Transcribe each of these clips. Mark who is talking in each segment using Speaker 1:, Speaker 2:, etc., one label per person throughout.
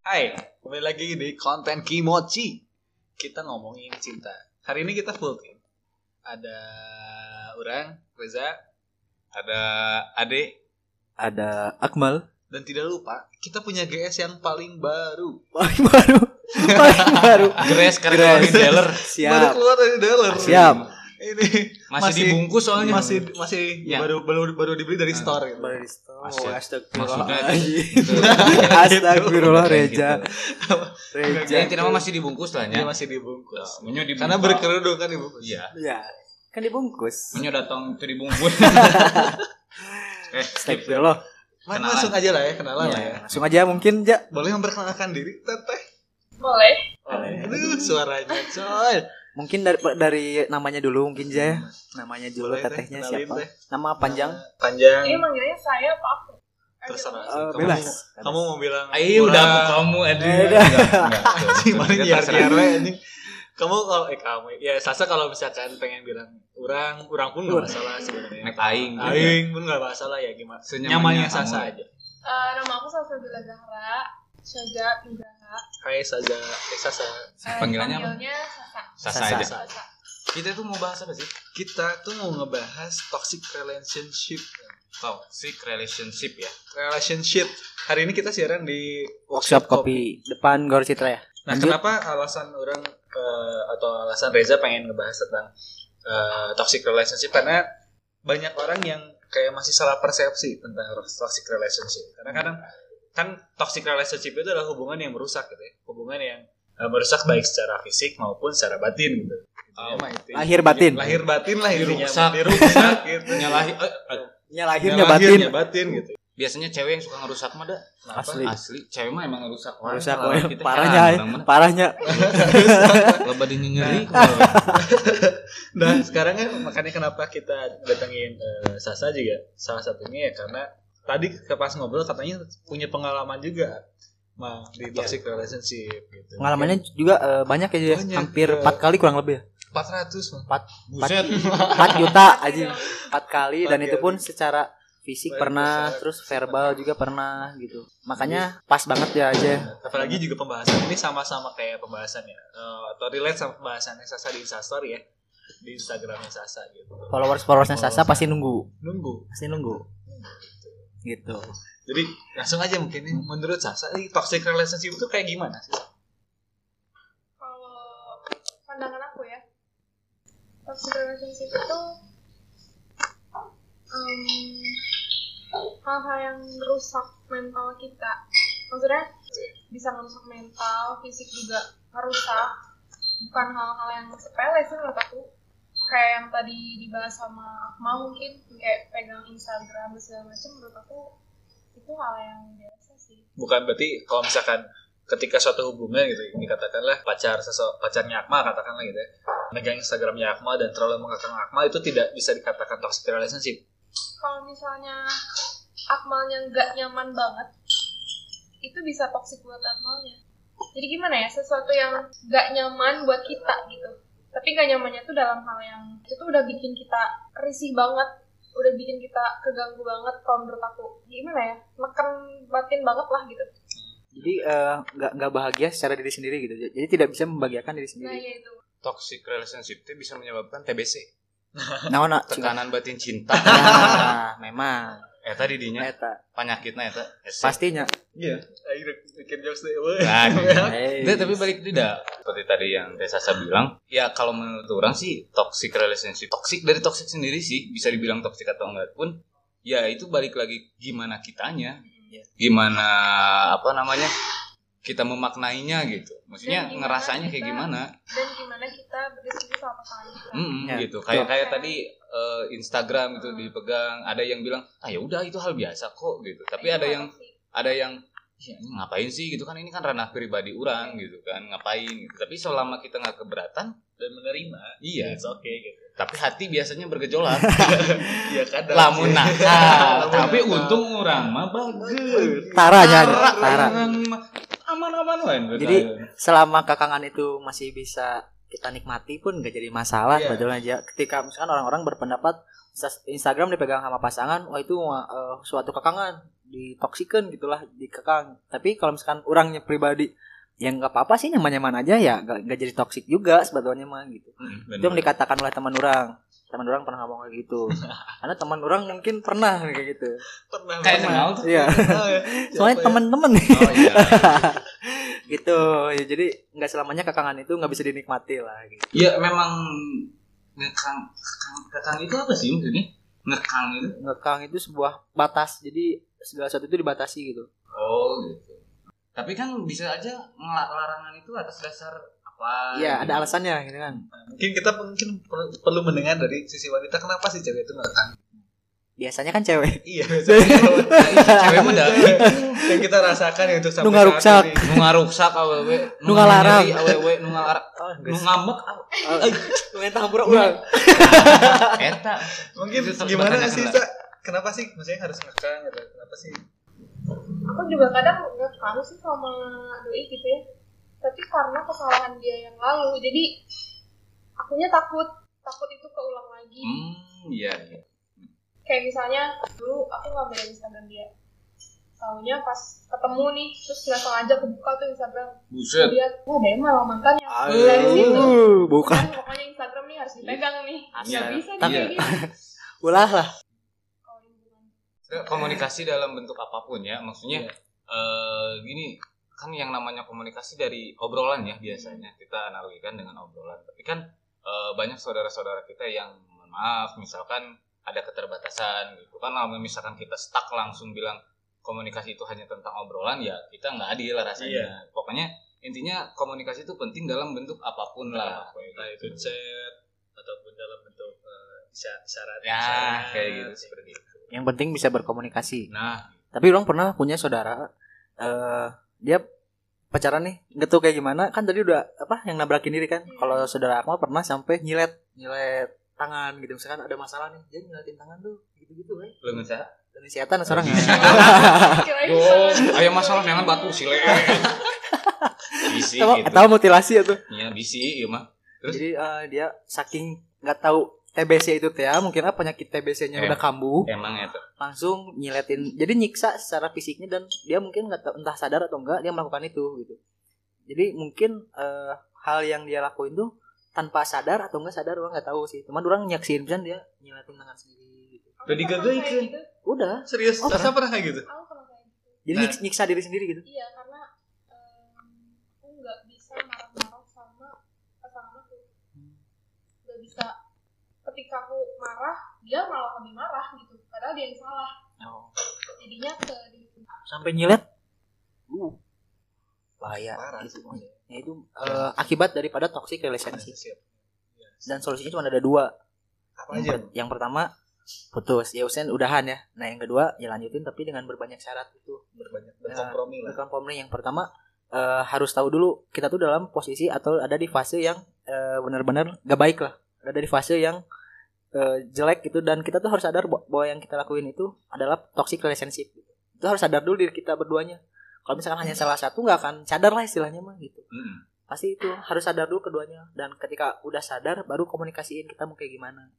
Speaker 1: Hai, kembali lagi di konten Kimochi. Kita ngomongin cinta. Hari ini kita full team. Ada orang, Reza, ada Ade,
Speaker 2: ada Akmal
Speaker 1: dan tidak lupa kita punya GS yang paling baru.
Speaker 2: paling baru paling baru
Speaker 3: Gres
Speaker 2: Gres.
Speaker 3: karena keluarin dealer
Speaker 1: Baru
Speaker 2: siap
Speaker 1: keluar dari dealer.
Speaker 2: Ya. Siap.
Speaker 1: Ini
Speaker 3: masih, dibungkus soalnya.
Speaker 1: masih masih
Speaker 3: Ya. Ah.
Speaker 1: baru baru baru dibeli dari store gitu.
Speaker 3: Asyik. Maksudnya
Speaker 2: astagfirullah
Speaker 3: Gitu.
Speaker 2: astagfirullah
Speaker 3: Kayak gitu.
Speaker 2: Reja
Speaker 3: Jadi
Speaker 2: Reja
Speaker 1: Enggak, enggak.
Speaker 3: intinya mah masih dibungkus lah
Speaker 1: Dia
Speaker 3: ya.
Speaker 1: masih dibungkus.
Speaker 3: Menyu dibuka.
Speaker 1: Karena berkerudung kan ibu.
Speaker 3: Iya.
Speaker 2: ya kan dibungkus
Speaker 3: Menyu datang itu dibungkus. eh, skip.
Speaker 2: astagfirullah
Speaker 1: Mari
Speaker 3: Kenalan.
Speaker 1: langsung aja lah ya, kenalan
Speaker 3: Iya,
Speaker 1: lah ya.
Speaker 2: ya, langsung aja mungkin ja
Speaker 1: Boleh memperkenalkan diri, Teteh?
Speaker 4: Boleh.
Speaker 3: Oh, iya.
Speaker 1: Aduh, suaranya coy.
Speaker 2: mungkin dari dari namanya dulu mungkin ja ya. namanya dulu
Speaker 1: Boleh, Teh,
Speaker 2: tetehnya
Speaker 1: kenalin,
Speaker 2: siapa
Speaker 1: Teh.
Speaker 2: nama panjang
Speaker 1: Panjang.
Speaker 4: Ini manggilnya saya apa aku?
Speaker 1: Terserah.
Speaker 2: Eh,
Speaker 1: Kamu-
Speaker 2: bebas
Speaker 1: Kamu mau bilang
Speaker 3: Ayo udah aku kamu aduh.
Speaker 2: Eh,
Speaker 3: Enggak,
Speaker 2: dah.
Speaker 3: enggak.
Speaker 1: sih mana
Speaker 3: Kita
Speaker 1: biar
Speaker 3: terserah.
Speaker 1: biar we, anjing. Kamu kalau eh kamu ya Sasa kalau misalkan pengen bilang orang orang pun nggak masalah sebenarnya.
Speaker 3: Nek aing.
Speaker 1: Aing pun nggak masalah ya gimana. Nyamannya
Speaker 3: Senyamannya kamu. ya.
Speaker 1: Sasa aja.
Speaker 4: Eh, nama aku Salsabila Zahra. Syaja Nugraha.
Speaker 1: Hai Saza, eh Sasa.
Speaker 4: Eh,
Speaker 3: Panggilannya apa?
Speaker 4: Panggilnya Sasa.
Speaker 3: Sasa
Speaker 2: Sasa.
Speaker 3: aja.
Speaker 4: Sasa.
Speaker 3: Kita tuh mau bahas apa sih?
Speaker 1: Kita tuh mau ngebahas toxic relationship.
Speaker 3: Toxic relationship ya.
Speaker 1: Relationship. Hari ini kita siaran di
Speaker 2: workshop kopi depan Gor Citra ya
Speaker 1: Nah,
Speaker 2: Lanjut.
Speaker 1: kenapa alasan orang eh, atau alasan Reza pengen ngebahas tentang eh, toxic relationship karena banyak orang yang kayak masih salah persepsi tentang toxic relationship. Karena kadang kan toxic relationship itu adalah hubungan yang merusak gitu ya. Hubungan yang eh, merusak baik secara fisik maupun secara batin gitu.
Speaker 3: Oh.
Speaker 1: Emang itu.
Speaker 2: lahir batin
Speaker 1: lahir batin lah intinya,
Speaker 3: Dirusak.
Speaker 1: dirusak gitu.
Speaker 3: Nyalahi eh, eh,
Speaker 2: ya
Speaker 1: Iya, Lahirnya
Speaker 2: lahirnya batin
Speaker 1: batin gitu.
Speaker 3: biasanya cewek yang suka ngerusak mah dah. Kenapa?
Speaker 2: Asli.
Speaker 3: Asli. Cewek mah emang ngerusak orang.
Speaker 2: Rusak,
Speaker 3: Kalau
Speaker 2: weh.
Speaker 3: kita
Speaker 2: parahnya
Speaker 3: heran
Speaker 2: ya.
Speaker 3: orang mah.
Speaker 2: parahnya
Speaker 3: Lebah dinyeri.
Speaker 1: Nah sekarang kan makanya kenapa kita datengin eh, Sasa juga salah satunya ya karena tadi ke- pas ngobrol katanya punya pengalaman juga mah di toxic relationship gitu.
Speaker 2: pengalamannya juga eh, banyak ya Ja?
Speaker 1: Banyak,
Speaker 2: hampir
Speaker 1: eh.
Speaker 2: empat kali kurang lebih ya
Speaker 1: 400 mah.
Speaker 3: Buset.
Speaker 2: 4 juta aja empat kali
Speaker 1: Empat
Speaker 2: dan itu pun
Speaker 1: kali.
Speaker 2: secara fisik
Speaker 1: Baik,
Speaker 2: pernah
Speaker 1: secara
Speaker 2: terus
Speaker 1: fisik
Speaker 2: verbal juga pernah gitu makanya pas banget ya aja
Speaker 1: Apalagi juga pembahasan ini sama-sama kayak pembahasannya eh, atau relate sama pembahasannya Sasa di Instastory ya di Instagramnya Sasa gitu.
Speaker 2: followers followersnya Sasa pasti nunggu
Speaker 1: Nunggu.
Speaker 2: pasti nunggu gitu
Speaker 1: Jadi langsung aja mungkin nih, menurut Sasa ini toxic relationship itu kayak gimana sih?
Speaker 4: Kalau pandangan aku ya. Toxic relationship itu em, hal-hal yang merusak mental kita. Maksudnya bisa merusak mental, fisik juga merusak. Bukan hal-hal yang sepele sih menurut aku. Kayak yang tadi dibahas sama Akmal mungkin kayak pegang Instagram dan segala macam menurut aku itu hal yang biasa sih.
Speaker 1: bukan berarti kalau misalkan ketika suatu hubungan gitu dikatakanlah pacar sesok pacarnya Akmal katakanlah gitu ya megang Instagramnya Akmal dan terlalu mengekang Akmal itu tidak bisa dikatakan toxic relationship
Speaker 4: kalau misalnya Akmalnya nggak nyaman banget, itu bisa toksik buat Akmalnya. Jadi gimana ya, sesuatu yang nggak nyaman buat kita gitu. Tapi nggak nyamannya tuh dalam hal yang itu tuh udah bikin kita risih banget, udah bikin kita keganggu banget kalau menurut aku. Gimana ya, neken batin banget lah gitu.
Speaker 2: jadi eh, nggak nggak bahagia secara diri sendiri gitu jadi tidak bisa membahagiakan diri
Speaker 4: Nah
Speaker 3: Iya.
Speaker 2: sendiri
Speaker 4: ya itu.
Speaker 3: Toxic relationship itu bisa menyebabkan TBC.
Speaker 2: nah nah nah,
Speaker 3: Tekanan batin cinta.
Speaker 2: nah, memang
Speaker 3: Eta di Eh, dinya
Speaker 2: Eta.
Speaker 3: penyakitnya eta. Ese.
Speaker 2: pastinya
Speaker 1: iya akhirnya bikin jokes deh
Speaker 3: Nah,
Speaker 2: Hey.
Speaker 3: Nggak, tapi balik tidak seperti tadi yang Teh Sasa bilang ya kalau menurut orang sih toxic relationship toxic dari toxic sendiri sih bisa dibilang toxic atau enggak pun ya itu balik lagi gimana kitanya gimana apa namanya kita memaknainya gitu maksudnya
Speaker 4: Dan gimana
Speaker 3: ngerasanya kayak
Speaker 4: kita-
Speaker 3: gimana
Speaker 4: Dan gimana kita berdiskusi sama pasangan kita.
Speaker 3: Mm-mm,
Speaker 2: Ya,
Speaker 3: gitu kayak
Speaker 2: betul.
Speaker 3: kayak tadi eh, Instagram itu
Speaker 4: Hmm.
Speaker 3: dipegang ada yang bilang ah ya udah itu hal biasa kok gitu tapi
Speaker 4: Itu
Speaker 3: ada yang
Speaker 4: toksik.
Speaker 3: ada yang "Ya, ini ngapain sih gitu kan ini kan ranah pribadi orang gitu kan ngapain gitu tapi selama kita nggak keberatan
Speaker 1: dan menerima
Speaker 3: iya
Speaker 1: it's okay gitu
Speaker 3: tapi hati biasanya bergejolak
Speaker 1: iya kadang
Speaker 3: lamun nakal
Speaker 1: Lamun
Speaker 3: Nah, tapi
Speaker 1: nakal.
Speaker 3: untung orang mah bagus
Speaker 2: taranya
Speaker 3: Tara,
Speaker 2: tara
Speaker 3: orang mah aman-aman wae
Speaker 2: Jadi, selama kakangan itu masih bisa kita nikmati pun gak jadi masalah
Speaker 1: Iya.
Speaker 2: sebetulnya aja ketika misalkan orang-orang berpendapat Insta- Instagram dipegang sama pasangan wah itu mah, eh, suatu kakangan ditoksikan gitulah dikekang tapi kalau misalkan orangnya pribadi yang nggak apa-apa sih nyaman-nyaman aja ya nggak nggak jadi toksik juga sebetulnya mah gitu itu yang dikatakan oleh teman orang teman orang pernah ngomong kayak gitu karena teman orang mungkin pernah kayak gitu
Speaker 1: Pernah.
Speaker 3: Kayak kenal tuh.
Speaker 2: iya
Speaker 1: Kenal ya?
Speaker 2: soalnya
Speaker 1: Siapa ya?
Speaker 2: teman-teman
Speaker 3: Oh iya.
Speaker 2: gitu ya jadi nggak selamanya kekangan itu nggak bisa dinikmati lah gitu.
Speaker 3: Ya memang ngekang ngekang- ngekang itu apa sih maksudnya? Ngekang itu?
Speaker 2: ngekang itu sebuah batas jadi segala sesuatu itu dibatasi gitu
Speaker 3: Oh gitu. Tapi kan bisa aja ngela- larangan itu atas dasar apa?
Speaker 2: Iya
Speaker 3: gitu.
Speaker 2: ada alasannya gitu kan
Speaker 1: Mungkin kita mungkin perlu- perlu mendengar dari sisi wanita kenapa sih cewek itu ngekang.
Speaker 2: biasanya kan cewek
Speaker 1: Iya, biasanya kalau-
Speaker 3: Cewek mah dah.
Speaker 1: yang kita rasakan ya untuk sampai
Speaker 2: Nunggah
Speaker 1: saat
Speaker 2: ruksak.
Speaker 1: ini.
Speaker 3: nu ngaruksak awewe
Speaker 2: Nu ngalarang.
Speaker 3: nyeri awewe nu ngalarang
Speaker 2: oh,
Speaker 3: nu ngambek awewe.
Speaker 2: mentah hampura ulang
Speaker 3: eta
Speaker 1: Mungkin
Speaker 3: Itu terus
Speaker 1: gimana
Speaker 3: pertanyaan
Speaker 1: sih,
Speaker 3: lah.
Speaker 1: Sa? Kenapa sih maksudnya harus ngekang gitu? Kenapa sih?
Speaker 4: aku juga kadang nggak tahu sih sama doi gitu ya tapi karena kesalahan dia yang lalu jadi akunya takut takut itu keulang lagi
Speaker 3: hmm iya iya
Speaker 4: kayak misalnya dulu aku nggak main Instagram dia tahunya pas ketemu nih terus nggak sengaja kebuka tuh Instagram
Speaker 3: buset
Speaker 4: lihat wah dia malah mantannya dari situ
Speaker 2: Uh, bukan
Speaker 4: kan ya." pokoknya Instagram nih harus dipegang nih nggak
Speaker 3: Iya.
Speaker 4: bisa
Speaker 3: Tapi-
Speaker 4: dia gitu. gini
Speaker 2: ulah lah
Speaker 4: Kalau lingkungan.
Speaker 1: Eh.
Speaker 3: komunikasi dalam bentuk apapun ya maksudnya
Speaker 1: Iya.
Speaker 3: eh, gini kan yang namanya komunikasi dari obrolan ya biasanya
Speaker 1: Hmm.
Speaker 3: kita analogikan dengan obrolan tapi kan eh, banyak saudara-saudara kita yang mohon maaf misalkan ada keterbatasan gitu kan kalau misalkan kita stuck langsung bilang komunikasi itu hanya tentang obrolan ya kita nggak adil lah rasanya
Speaker 1: Iya.
Speaker 3: pokoknya intinya komunikasi itu penting dalam bentuk apapun lah
Speaker 1: Nah, itu chat ataupun dalam bentuk eh, isya- isyarat.
Speaker 3: ya
Speaker 1: isyarat.
Speaker 3: kayak gitu seperti itu
Speaker 2: yang penting bisa berkomunikasi
Speaker 3: nah
Speaker 2: tapi orang pernah punya saudara eh dia pacaran nih nggak tahu kayak gimana kan tadi udah apa yang nabrakin diri kan kalau saudara aku mah pernah sampai nyilet nyilet tangan gitu misalkan ada masalah nih dia nyiletin tangan tuh gitu gitu kan
Speaker 3: lu ngeca
Speaker 2: dan setan seorang
Speaker 4: Kirain
Speaker 3: Oh,
Speaker 4: sama-
Speaker 3: ayo masalah memang batu sile. bisi gitu.
Speaker 2: atau mutilasi itu
Speaker 3: Ya bisi ieu mah. Terus?
Speaker 2: jadi eh, dia saking nggak tahu TBC itu teh ya, mungkin apa penyakit TBC-nya
Speaker 3: Eh.
Speaker 2: udah kambuh
Speaker 3: Emang eta.
Speaker 2: langsung nyiletin jadi nyiksa secara fisiknya dan dia mungkin nggak tahu entah sadar atau enggak dia melakukan itu gitu jadi mungkin eh, hal yang dia lakuin tuh tanpa sadar atau enggak sadar orang nggak tahu sih cuman orang nyaksiin kan dia nyiletin tangan sendiri gitu.
Speaker 4: Aku
Speaker 1: Udah digagain,
Speaker 4: pernah kayak gitu.
Speaker 2: udah
Speaker 1: Serius,
Speaker 2: Oh,
Speaker 1: Sasa pernah kayak gitu?
Speaker 4: Aku pernah kayak gitu.
Speaker 2: jadi
Speaker 1: Nah.
Speaker 2: nyik- nyiksa diri sendiri gitu
Speaker 4: Iya, karena em, aku nggak bisa marah-marah sama pasangan aku. Nggak bisa. Ketika aku marah, dia malah lebih marah gitu. Padahal dia yang salah. Jadinya ke diri
Speaker 2: sampai nyilet uh,
Speaker 1: Iya.
Speaker 2: bahaya
Speaker 1: Parah
Speaker 2: itu
Speaker 1: sih.
Speaker 2: ya itu eh, akibat daripada toxic relationship
Speaker 1: Siap. Ya.
Speaker 2: dan solusinya cuma ada dua
Speaker 1: Apa
Speaker 2: yang,
Speaker 1: aja?
Speaker 2: per- yang pertama putus ya usen udahan ya nah yang kedua ya lanjutin tapi dengan berbanyak syarat itu
Speaker 1: Berbanyak berkompromi lah.
Speaker 2: berkompromi yang pertama eh, harus tahu dulu kita tuh dalam posisi atau ada di fase yang eh, benar-benar gak baik lah ada di fase yang eh, jelek gitu dan kita tuh harus sadar bahwa bahwa yang kita lakuin itu adalah toxic relationship gitu. itu harus sadar dulu diri kita berduanya kalau misalkan hanya salah satu nggak akan sadar lah istilahnya mah gitu
Speaker 3: Mm-mm.
Speaker 2: pasti itu harus sadar dulu keduanya dan ketika udah sadar baru komunikasiin kita mau kayak gimana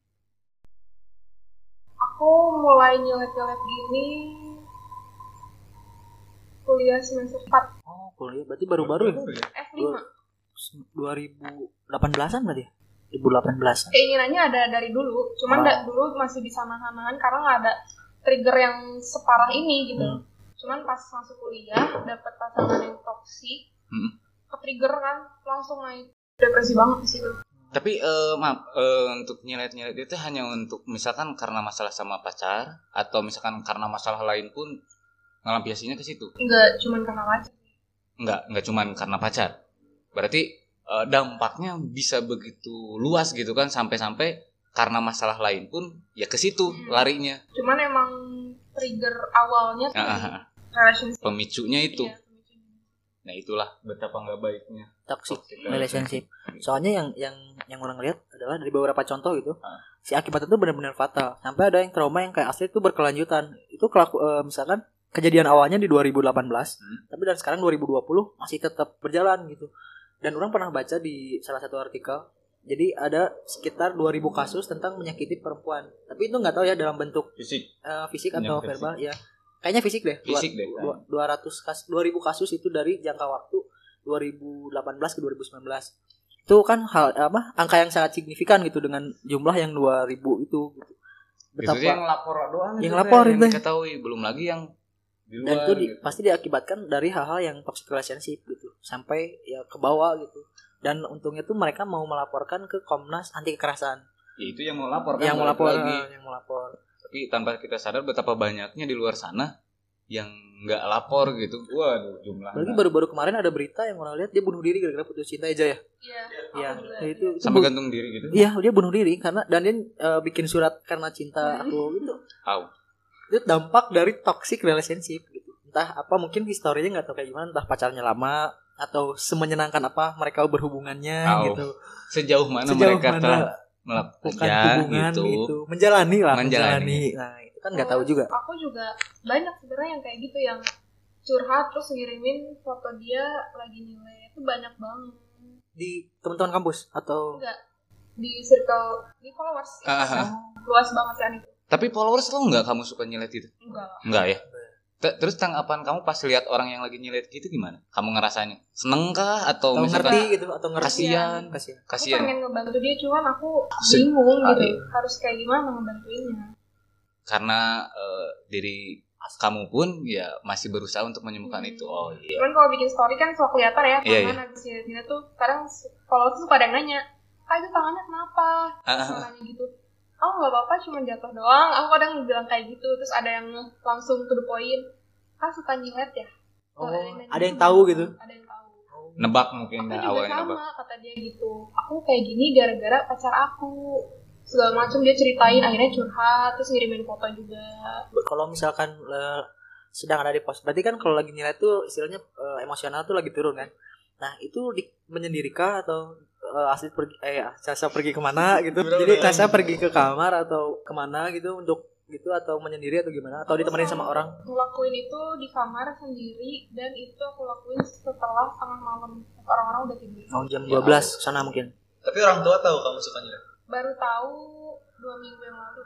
Speaker 4: Aku mulai nyelet-nyelet gini kuliah semester eh, 4
Speaker 2: oh kuliah berarti baru-baru ya
Speaker 1: ya?
Speaker 4: F5
Speaker 2: 2018an berarti ya? 2018
Speaker 4: keinginannya ada dari dulu cuman
Speaker 2: Ah.
Speaker 4: da- dulu masih bisa nahan-nahan karena nggak ada trigger yang separah ini gitu
Speaker 3: Hmm.
Speaker 4: cuman pas masuk kuliah dapet pasangan yang toksik
Speaker 3: Hmm.
Speaker 4: ke trigger kan langsung naik depresi banget di situ
Speaker 3: Tapi eh, maaf eh, untuk nyilet-nyilet itu hanya untuk misalkan karena masalah sama pacar atau misalkan karena masalah lain pun ngelampiasinya ke situ.
Speaker 4: nggak cuman karena pacar
Speaker 3: Enggak, enggak cuman karena pacar. Berarti eh, dampaknya bisa begitu luas gitu kan sampai-sampai karena masalah lain pun ya ke situ
Speaker 4: Hmm.
Speaker 3: larinya.
Speaker 4: cuman emang trigger awalnya tuh
Speaker 3: Ah, ah,
Speaker 4: dari
Speaker 3: ah.
Speaker 4: relationship
Speaker 3: Pemicunya itu.
Speaker 4: Iya, pemicunya.
Speaker 3: Nah, itulah betapa nggak baiknya
Speaker 2: toxic
Speaker 3: Toxic
Speaker 2: relationship soalnya yang yang yang orang lihat adalah dari beberapa contoh gitu
Speaker 3: Ah.
Speaker 2: si akibatnya itu benar-benar fatal sampai ada yang trauma yang kayak asli itu berkelanjutan itu kelaku eh, misalkan kejadian awalnya di 2018 tapi dan sekarang 2020 masih tetap berjalan gitu dan orang pernah baca di salah satu artikel jadi ada sekitar 2000 kasus tentang menyakiti perempuan tapi itu nggak tahu ya dalam bentuk
Speaker 3: Fisik.
Speaker 2: eh, fisik atau
Speaker 3: Yang fisik.
Speaker 2: verbal ya Kayaknya fisik deh. Dua-
Speaker 3: Fisik deh, kan?
Speaker 2: dua- 200 kasus 2000 kasus itu dari jangka waktu 2018 ke 2019. Itu kan hal apa? Angka yang sangat signifikan gitu dengan jumlah yang 2000 itu gitu.
Speaker 3: Itu
Speaker 2: Betapa
Speaker 3: dia yang lapor doang.
Speaker 2: Yang
Speaker 3: itu,
Speaker 2: lapor
Speaker 3: Teh, yang
Speaker 2: itu.
Speaker 3: diketahui belum lagi yang di
Speaker 2: dan
Speaker 3: luar.
Speaker 2: itu di-
Speaker 3: gitu.
Speaker 2: pasti diakibatkan dari hal-hal yang toxic relationship gitu sampai ya ke bawah gitu dan untungnya tuh mereka mau melaporkan ke Komnas anti kekerasan
Speaker 3: Ya, itu yang mau lapor kan.
Speaker 2: yang
Speaker 3: balik
Speaker 2: melapor
Speaker 3: lagi.
Speaker 2: yang melapor
Speaker 3: Tapi tanpa kita sadar betapa banyaknya di luar sana yang nggak lapor gitu. Waduh, jumlah.
Speaker 2: Apalagi baru-baru kemarin ada berita yang orang lihat dia bunuh diri gara-gara putus cinta aja ya.
Speaker 4: Iya.
Speaker 2: Iya,
Speaker 4: aku juga.
Speaker 2: ya itu, itu
Speaker 3: Sama
Speaker 2: bu-
Speaker 3: gantung diri gitu.
Speaker 2: Iya, dia bunuh diri karena dan dia eh, bikin surat karena cinta aku gitu.
Speaker 3: Au.
Speaker 2: Itu dampak dari toxic relationship gitu. Entah apa mungkin historinya nggak tahu kayak gimana, entah pacarnya lama atau semenyenangkan apa mereka berhubungannya
Speaker 3: Au.
Speaker 2: gitu.
Speaker 3: Sejauh mana
Speaker 2: Sejauh
Speaker 3: mereka
Speaker 2: mana
Speaker 3: telah melakukan
Speaker 2: Bukan hubungan
Speaker 3: gitu.
Speaker 2: gitu. menjalani lah,
Speaker 3: Menjalani.
Speaker 2: menjalani. Nah, itu kan nggak tahu juga.
Speaker 4: Aku juga banyak sebenarnya yang kayak gitu yang curhat terus ngirimin foto dia lagi nilai itu banyak banget
Speaker 2: Di teman-teman kampus atau
Speaker 4: di circle di followers
Speaker 3: Aha.
Speaker 4: luas banget kan itu
Speaker 3: Tapi followers lo nggak kamu suka nyelet itu?
Speaker 4: enggak
Speaker 3: Enggak ya? Te- Terus tanggapan kamu pas lihat orang yang lagi nyelet gitu gimana? Kamu ngerasanya seneng kah atau
Speaker 2: atau ngerti
Speaker 3: misalkan
Speaker 2: gitu atau ngerti
Speaker 3: kasihan?
Speaker 2: kasihan.
Speaker 4: aku
Speaker 3: Kasihan.
Speaker 4: pengen ngebantu dia cuman aku
Speaker 3: Se-
Speaker 4: bingung
Speaker 3: Ah,
Speaker 4: gitu harus kayak gimana ngebantuinnya
Speaker 3: karena eh, diri kamu pun ya masih berusaha untuk menemukan
Speaker 4: Hmm.
Speaker 3: itu. Oh iya.
Speaker 4: cuman kalau bikin story kan so kelihatan ya
Speaker 3: Iya,
Speaker 4: tangan habis dia tuh sekarang kalau tuh pada nanya ah itu tangannya kenapa
Speaker 3: Ah, ah,
Speaker 4: Terus orang gitu oh nggak apa-apa cuma jatuh doang aku kadang bilang kayak gitu terus ada yang langsung to the point ah suka nyilet ya
Speaker 2: Oh,
Speaker 4: Kalau nanya
Speaker 2: ada yang tahu gitu.
Speaker 4: ada yang tahu
Speaker 3: Nebak mungkin
Speaker 4: aku
Speaker 3: dah,
Speaker 4: juga
Speaker 3: awalnya
Speaker 4: sama
Speaker 3: nebak.
Speaker 4: kata dia gitu aku kayak gini gara-gara pacar aku segala macam dia ceritain akhirnya curhat terus ngirimin foto juga
Speaker 2: kalau misalkan eh, sedang ada di pos berarti kan kalau lagi nilai tuh istilahnya eh, emosional tuh lagi turun kan nah itu di, menyendirikan atau eh, asli pergi eh Caca pergi kemana gitu jadi Caca pergi ke kamar atau kemana gitu untuk gitu atau menyendiri atau gimana atau ditemenin sama orang
Speaker 4: ngelakuin itu di kamar sendiri dan itu aku lakuin setelah tengah malam orang-orang udah tidur
Speaker 2: mau jam 12 sana mungkin
Speaker 1: Tapi orang tua tahu kamu suka nyelet.
Speaker 4: baru tahu dua minggu yang lalu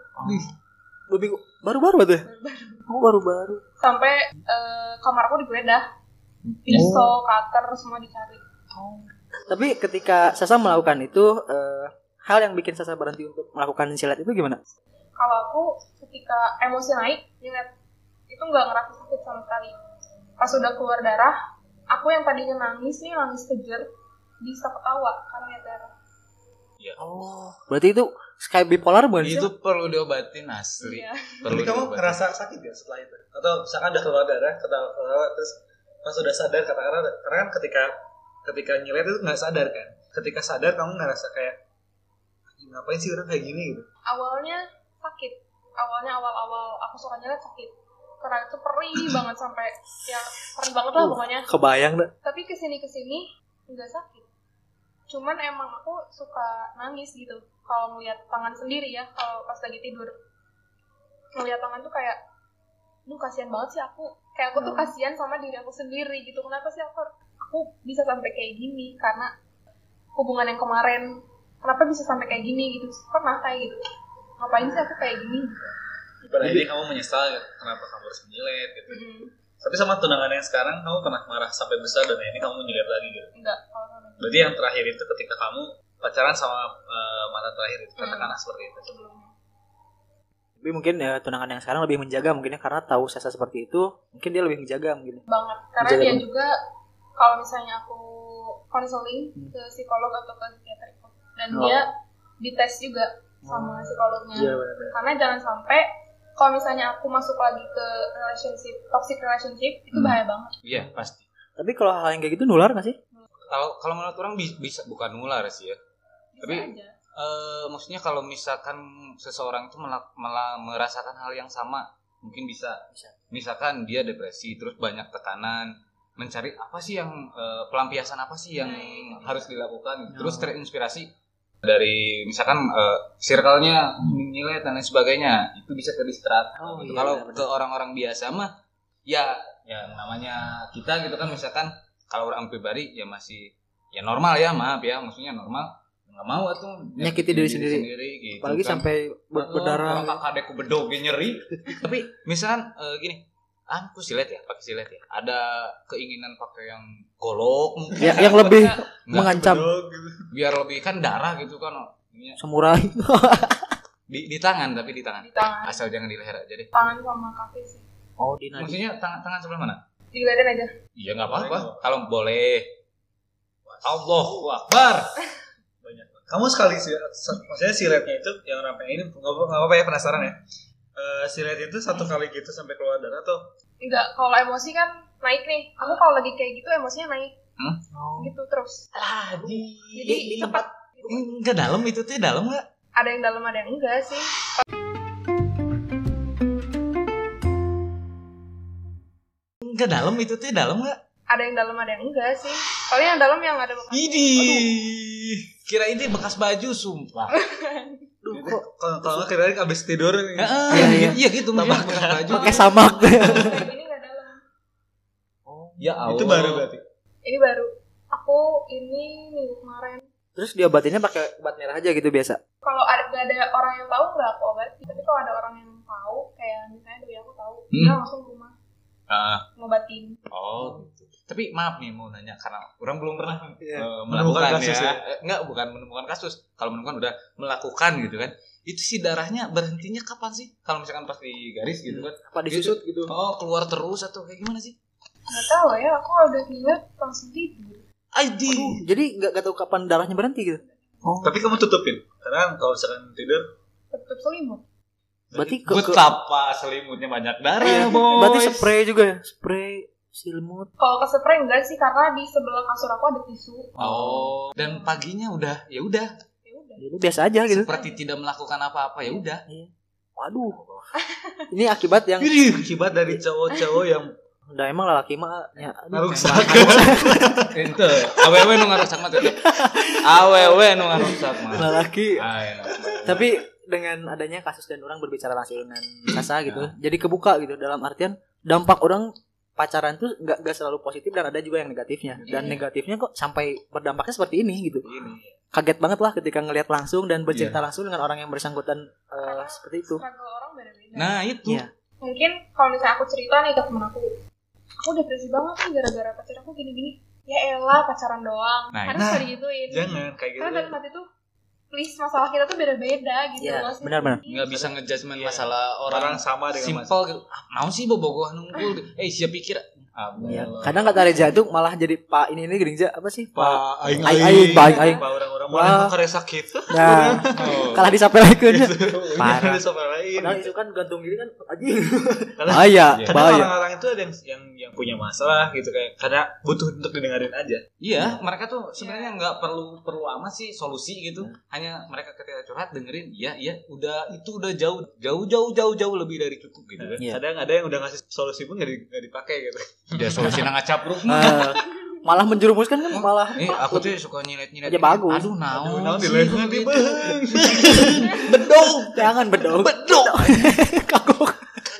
Speaker 2: Dua minggu- baru-baru tuh
Speaker 4: baru-baru
Speaker 2: oh baru-baru
Speaker 4: sampai eh, kamar aku digeledah pisau cutter semua dicari
Speaker 2: tapi ketika Sasa melakukan itu eh, hal yang bikin Sasa berhenti untuk melakukan silat itu gimana
Speaker 4: kalau aku ketika emosi naik ingat itu nggak ngerasa sakit sama sekali pas udah keluar darah aku yang tadinya nangis nih nangis kejer bisa ketawa karena lihat darah
Speaker 2: oh berarti itu sky bipolar bukan sih?
Speaker 3: Itu perlu diobatin asli.
Speaker 4: Iya.
Speaker 3: Perlu
Speaker 1: Tapi kamu
Speaker 3: diobatin.
Speaker 1: ngerasa sakit ya setelah itu? Atau misalkan udah keluar darah, ketawa, ketawa terus pas udah sadar katakanlah karena kan ketika ketika nyelet itu nggak sadar kan. Ketika sadar kamu ngerasa kayak "Anjing, ngapain sih orang kayak gini gitu.
Speaker 4: awalnya sakit awalnya awal-awal aku suka nyelet sakit karena itu perih banget sampai ya perih banget lah
Speaker 2: Uh.
Speaker 4: pokoknya
Speaker 2: kebayang dah
Speaker 4: tapi kesini kesini nggak sakit cuman emang aku suka nangis gitu kalau ngeliat tangan sendiri ya kalau pas lagi tidur ngeliat tangan tuh kayak duh kasihan banget sih aku kayak aku tuh
Speaker 2: Oh.
Speaker 4: kasihan sama diri aku sendiri gitu kenapa sih aku aku bisa sampai kayak gini karena hubungan yang kemarin kenapa bisa sampai kayak gini gitu pernah kayak gitu ngapain sih aku kayak gini
Speaker 1: Pada
Speaker 3: Iya.
Speaker 1: akhirnya kamu menyesal ya, kenapa kamu harus menyelet gitu.
Speaker 4: Mm-mm.
Speaker 1: Tapi sama tunangan yang sekarang kamu pernah marah sampai besar dan akhirnya kamu nyelet lagi gitu.
Speaker 4: enggak kalau sama dia
Speaker 1: Berarti yang terakhir itu ketika kamu pacaran sama eh, mantan terakhir itu
Speaker 3: Hmm.
Speaker 1: katakanlah seperti itu.
Speaker 4: sebelumnya
Speaker 2: tapi mungkin ya, tunangan yang sekarang lebih menjaga mungkin ya karena tahu sasa seperti itu mungkin dia lebih menjaga mungkin
Speaker 4: banget karena
Speaker 2: Menjaga
Speaker 4: dia
Speaker 2: banget.
Speaker 4: juga kalau misalnya aku konseling ke psikolog atau ke psikiater itu, dan
Speaker 2: Hmm. Oh. Iya,
Speaker 4: dia dites juga sama psikolognya
Speaker 3: Iya,
Speaker 2: benar
Speaker 4: karena jangan sampai kalau misalnya aku masuk lagi ke relationship toxic relationship itu
Speaker 3: Hmm.
Speaker 4: bahaya banget
Speaker 3: Iya, pasti.
Speaker 2: tapi kalau hal yang kayak gitu nular gak sih
Speaker 3: Kalau kalau menurut orang bi- bisa bukan nular sih ya.
Speaker 4: bisa
Speaker 3: Tapi-
Speaker 4: aja
Speaker 3: Eh, maksudnya kalau misalkan seseorang itu melak- mela- merasakan hal yang sama, mungkin bisa.
Speaker 2: Bisa.
Speaker 3: Misalkan dia depresi, terus banyak tekanan, mencari apa sih yang eh, pelampiasan apa sih yang
Speaker 4: Nah, itu dia. Ya.
Speaker 3: harus dilakukan, terus
Speaker 2: Oh.
Speaker 3: terinspirasi dari misalkan eh, circle-nya
Speaker 4: Hmm.
Speaker 3: nilai dan lain sebagainya, itu bisa ke distract.
Speaker 2: Oh,
Speaker 3: Gitu.
Speaker 2: iya,
Speaker 3: kalau
Speaker 2: benar-benar.
Speaker 3: ke orang-orang biasa mah, ya, ya namanya kita gitu kan, misalkan kalau orang pribadi ya masih ya normal ya maaf ya, maksudnya normal nggak mau tuh
Speaker 2: Nyakiti diri sendiri.
Speaker 3: gitu
Speaker 2: apalagi
Speaker 3: kan.
Speaker 2: sampai ber-
Speaker 3: Oh,
Speaker 2: berdarah
Speaker 3: kakak adekku bedognya nyeri tapi misalkan eh, gini aku silet ya pakai silet ya ada keinginan pakai yang golok mungkin
Speaker 2: Ya, yang lebih
Speaker 3: Nggak,
Speaker 2: mengancam
Speaker 1: Bedog gitu.
Speaker 3: biar lebih kan darah gitu kan ininya.
Speaker 2: samurai.
Speaker 3: di, di tangan tapi di tangan
Speaker 4: di tangan
Speaker 3: asal jangan di leher aja deh
Speaker 4: tangan sama kaki sih
Speaker 2: oh, di nadi.
Speaker 3: maksudnya tangan tangan sebelah mana
Speaker 4: dilihatin aja
Speaker 3: iya nggak
Speaker 1: Boleh,
Speaker 3: apa-apa
Speaker 1: nggak apa-apa.
Speaker 3: kalau boleh Allahu Akbar
Speaker 1: banyak banget. Kamu sekali sih, sa- maksudnya siletnya itu yang ramping ini nggak apa- nggak apa-apa ya penasaran ya. Eh silet itu satu kali gitu sampai keluar darah tuh.
Speaker 4: enggak kalau emosi kan naik nih aku kalau lagi kayak gitu emosinya naik
Speaker 2: Oh.
Speaker 4: gitu terus
Speaker 3: lah di
Speaker 4: jadi
Speaker 3: di
Speaker 4: tempat
Speaker 3: enggak dalam itu tuh dalam nggak
Speaker 4: ada yang dalam ada yang enggak sih
Speaker 3: enggak dalam itu tuh dalam nggak
Speaker 4: ada yang dalam ada yang enggak sih paling yang dalam yang ada bekas
Speaker 3: ini kira ini bekas baju sumpah
Speaker 2: Duh,
Speaker 1: Jadi,
Speaker 2: kok
Speaker 1: Kalau kalau nggak kira abis tidur nih.
Speaker 3: iya
Speaker 2: iya.
Speaker 3: iya gitu maksudnya bekas baju
Speaker 2: pakai samak.
Speaker 4: kayak gini nggak dalam
Speaker 3: ya Allah
Speaker 1: Itu baru berarti.
Speaker 4: ini baru aku ini minggu kemarin
Speaker 2: Terus diobatinnya pakai obat merah aja gitu biasa.
Speaker 4: kalau ada gak ada orang yang tahu nggak aku obati tapi kalau ada orang yang tahu kayak misalnya doi aku tahu
Speaker 3: Hmm.
Speaker 4: dia langsung ke rumah
Speaker 3: Ah,
Speaker 4: ngobatin
Speaker 3: oh gitu. tapi maaf nih mau nanya karena orang belum pernah eh,
Speaker 2: Iya.
Speaker 1: Menemukan
Speaker 3: melakukan
Speaker 1: kasus
Speaker 3: ya.
Speaker 1: ya?
Speaker 3: Eh, Enggak, bukan menemukan kasus. Kalau menemukan udah melakukan gitu kan. Itu si darahnya berhentinya kapan sih? Kalau misalkan pas di garis gitu kan.
Speaker 2: Apa disusut gitu?
Speaker 3: Oh, keluar terus atau kayak gimana sih?
Speaker 4: nggak tahu ya aku kalau udah ngeliat langsung tidur
Speaker 3: Aidi.
Speaker 2: Jadi nggak nggak tahu kapan darahnya berhenti gitu. Oh.
Speaker 1: Tapi kamu tutupin. Karena kalau misalkan tidur
Speaker 4: tutup selimut
Speaker 2: Berarti ke, ke-
Speaker 3: Betapa selimutnya banyak darah, boy.
Speaker 2: berarti spray juga ya? Spray silimut.
Speaker 4: kalau ke spray enggak sih karena di sebelah kasur aku ada tisu
Speaker 3: Oh, dan paginya udah, ya udah.
Speaker 4: ya udah
Speaker 2: Jadi biasa aja gitu.
Speaker 3: Seperti tidak melakukan apa-apa, ya udah.
Speaker 2: Waduh. Ini akibat yang
Speaker 1: Ini Iya. akibat dari cowok-cowok yang
Speaker 2: udah emang lelaki mah ya aduh,
Speaker 1: merusak.
Speaker 3: Ente, awewe nu ngarusak mah tetep. Awewe nu ngarusak
Speaker 2: emang
Speaker 3: mah.
Speaker 2: lelaki.
Speaker 3: Ayo.
Speaker 2: Nah, Tapi dengan adanya kasus dan orang berbicara langsung dengan Sasa gitu. Jadi kebuka gitu dalam artian dampak orang pacaran tuh nggak nggak selalu positif dan ada juga yang negatifnya dan
Speaker 4: Iya.
Speaker 2: negatifnya kok sampai berdampaknya seperti ini gitu
Speaker 3: Ini.
Speaker 2: kaget banget lah ketika ngelihat langsung dan bercerita langsung dengan orang yang bersangkutan eh, seperti itu
Speaker 4: struggle orang beda-beda
Speaker 3: Gitu. Nah, itu.
Speaker 2: Iya.
Speaker 4: mungkin kalau misalnya aku cerita nih ke temen aku aku depresi banget nih gara-gara pacar aku gini-gini ya elah pacaran doang
Speaker 3: Nah,
Speaker 4: harus
Speaker 1: nah,
Speaker 4: nah, digituin
Speaker 1: Jangan kayak gitu.
Speaker 4: karena dalam hati tuh please masalah kita tuh beda-beda gitu
Speaker 2: Iya,
Speaker 4: loh sih.
Speaker 2: benar-benar.
Speaker 3: nggak bisa ngejudgment
Speaker 1: Iya.
Speaker 3: masalah
Speaker 1: Orang
Speaker 3: orang,
Speaker 1: sama dengan mas.
Speaker 3: simpel gitu. Ah, mau sih bobogoh nunggu. Eh, siap pikir. Ah,
Speaker 2: Iya.
Speaker 3: Allah.
Speaker 2: Kadang kata Reza itu malah jadi Pak ini ini gerinja apa sih? Pak.
Speaker 1: aing
Speaker 2: Aing, aing, Pak, aing, aing.
Speaker 1: Pak orang-orang mana
Speaker 2: Wah.
Speaker 1: karesa gitu.
Speaker 2: Nah,
Speaker 3: Oh.
Speaker 2: kalah disapelekeun.
Speaker 1: Parah.
Speaker 2: Parah.
Speaker 1: Sama lain.
Speaker 2: Padahal itu kan gantung diri kan anjing.
Speaker 1: Karena-
Speaker 2: Bahaya,
Speaker 3: Iya.
Speaker 1: Karena
Speaker 2: bahaya.
Speaker 1: orang-orang itu ada yang, yang yang punya masalah gitu kayak karena butuh untuk didengarin aja.
Speaker 3: Iya, mereka tuh sebenarnya nggak perlu perlu amat sih solusi gitu.
Speaker 2: Iya.
Speaker 3: Hanya mereka ketika curhat dengerin, iya iya, udah itu udah jauh jauh jauh jauh jauh lebih dari cukup gitu kan.
Speaker 2: Iya.
Speaker 1: Kadang ada yang udah ngasih solusi pun nggak di- nggak dipakai gitu.
Speaker 3: Ya solusi nang acap bro.
Speaker 2: Eh, malah menjerumuskan kan malah
Speaker 3: Eh, aku tuh suka nyilet-nyilet.
Speaker 2: Aja
Speaker 3: gini.
Speaker 2: bagus.
Speaker 3: Aduh, naon.
Speaker 1: Nah, di
Speaker 3: sih,
Speaker 1: leher
Speaker 3: gitu.
Speaker 2: bedong. Jangan bedong. Bedong. Kagok.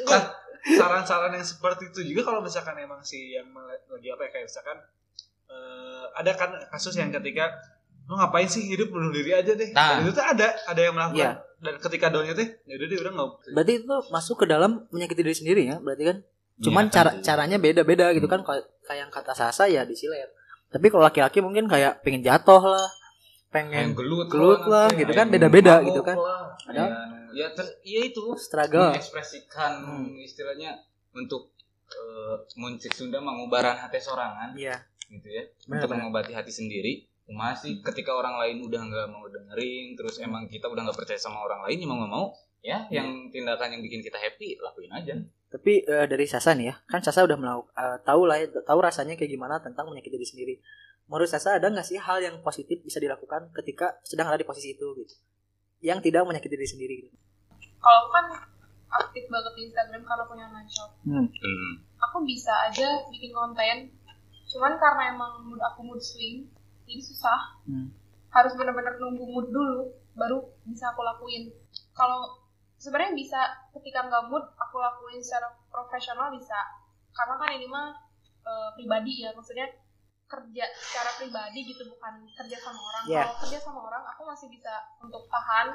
Speaker 1: Nah, saran-saran yang seperti itu juga kalau misalkan emang si yang mele- lagi apa ya kayak misalkan eh, ada kan kasus yang ketika lu ngapain sih hidup bunuh diri aja deh.
Speaker 3: Nah.
Speaker 1: Dan itu tuh ada ada yang
Speaker 2: Iya.
Speaker 1: melakukan. Dan ketika downnya tuh, ya udah deh udah nggak
Speaker 2: Berarti itu masuk ke dalam menyakiti diri sendiri ya, berarti kan. Cuman
Speaker 3: Iya,
Speaker 2: cara
Speaker 3: kan,
Speaker 2: caranya beda-beda gitu kan Kalau kayak yang kata Sasa ya disilet. Tapi kalau laki-laki mungkin kayak pengen jatuh lah,
Speaker 3: yang
Speaker 2: pengen
Speaker 3: gelut,
Speaker 2: gelut lah,
Speaker 3: nanti,
Speaker 2: gitu
Speaker 3: yang
Speaker 2: kan, beda-beda
Speaker 3: mabok
Speaker 2: gitu kan.
Speaker 3: lah.
Speaker 2: Ada.
Speaker 3: Ya, ya ter- ya itu
Speaker 2: struggle.
Speaker 3: mengekspresikan
Speaker 2: Hmm.
Speaker 3: istilahnya untuk eh muncik Sunda mengubaran hati sorangan
Speaker 2: Iya.
Speaker 3: gitu ya
Speaker 2: Benar,
Speaker 3: untuk
Speaker 2: benar.
Speaker 3: mengobati hati sendiri masih ketika orang lain udah nggak mau dengerin terus
Speaker 2: Hmm.
Speaker 3: emang kita udah nggak percaya sama orang lain ya mau nggak mau ya
Speaker 2: Iya.
Speaker 3: yang tindakan yang bikin kita happy lakuin aja
Speaker 2: Tapi eh, dari Sasa nih ya, kan Sasa udah melakukan tahu lah, ya, tahu rasanya kayak gimana tentang menyakiti diri sendiri. Menurut Sasa ada nggak sih hal yang positif bisa dilakukan ketika sedang ada di posisi itu gitu? Yang tidak menyakiti diri sendiri. Gitu.
Speaker 4: kalau aku kan aktif banget di Instagram karena punya online shop
Speaker 3: hmm.
Speaker 4: aku bisa aja bikin konten cuman karena emang mood aku mood swing jadi susah
Speaker 2: Hmm.
Speaker 4: harus benar-benar nunggu mood dulu baru bisa aku lakuin kalau sebenarnya bisa ketika nggak mood aku lakuin secara profesional bisa karena kan ini mah eh, pribadi ya maksudnya kerja secara pribadi gitu bukan kerja sama orang
Speaker 2: Iya.
Speaker 4: kalau kerja sama orang aku masih bisa untuk tahan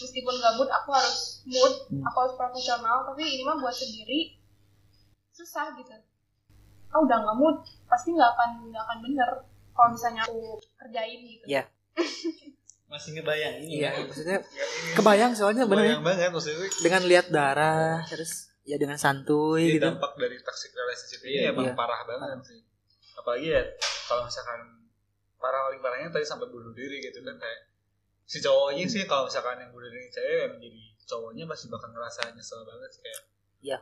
Speaker 4: meskipun gabut aku harus mood
Speaker 2: Hmm.
Speaker 4: aku harus profesional tapi ini mah buat sendiri susah gitu ah udah nggak mood pasti nggak akan nggak akan bener kalau misalnya aku kerjain gitu
Speaker 2: Iya.
Speaker 1: Masih ngebayang ini.
Speaker 2: Iya, maksudnya kebayang soalnya bener ya.
Speaker 1: Ya, Kebayang banget maksudnya
Speaker 2: dengan lihat darah terus ya dengan
Speaker 1: Jadi
Speaker 2: santuy gitu.
Speaker 1: dampak dari toxic relationship ini
Speaker 3: Iya,
Speaker 1: emang
Speaker 2: iya.
Speaker 1: parah banget sih. Apalagi ya kalau misalkan parah paling parahnya tadi sampai bunuh diri gitu kan kayak si cowoknya sih kalau misalkan yang bunuh diri cewek yang jadi cowoknya masih bakal ngerasa nyesel banget sih kayak
Speaker 2: Iya.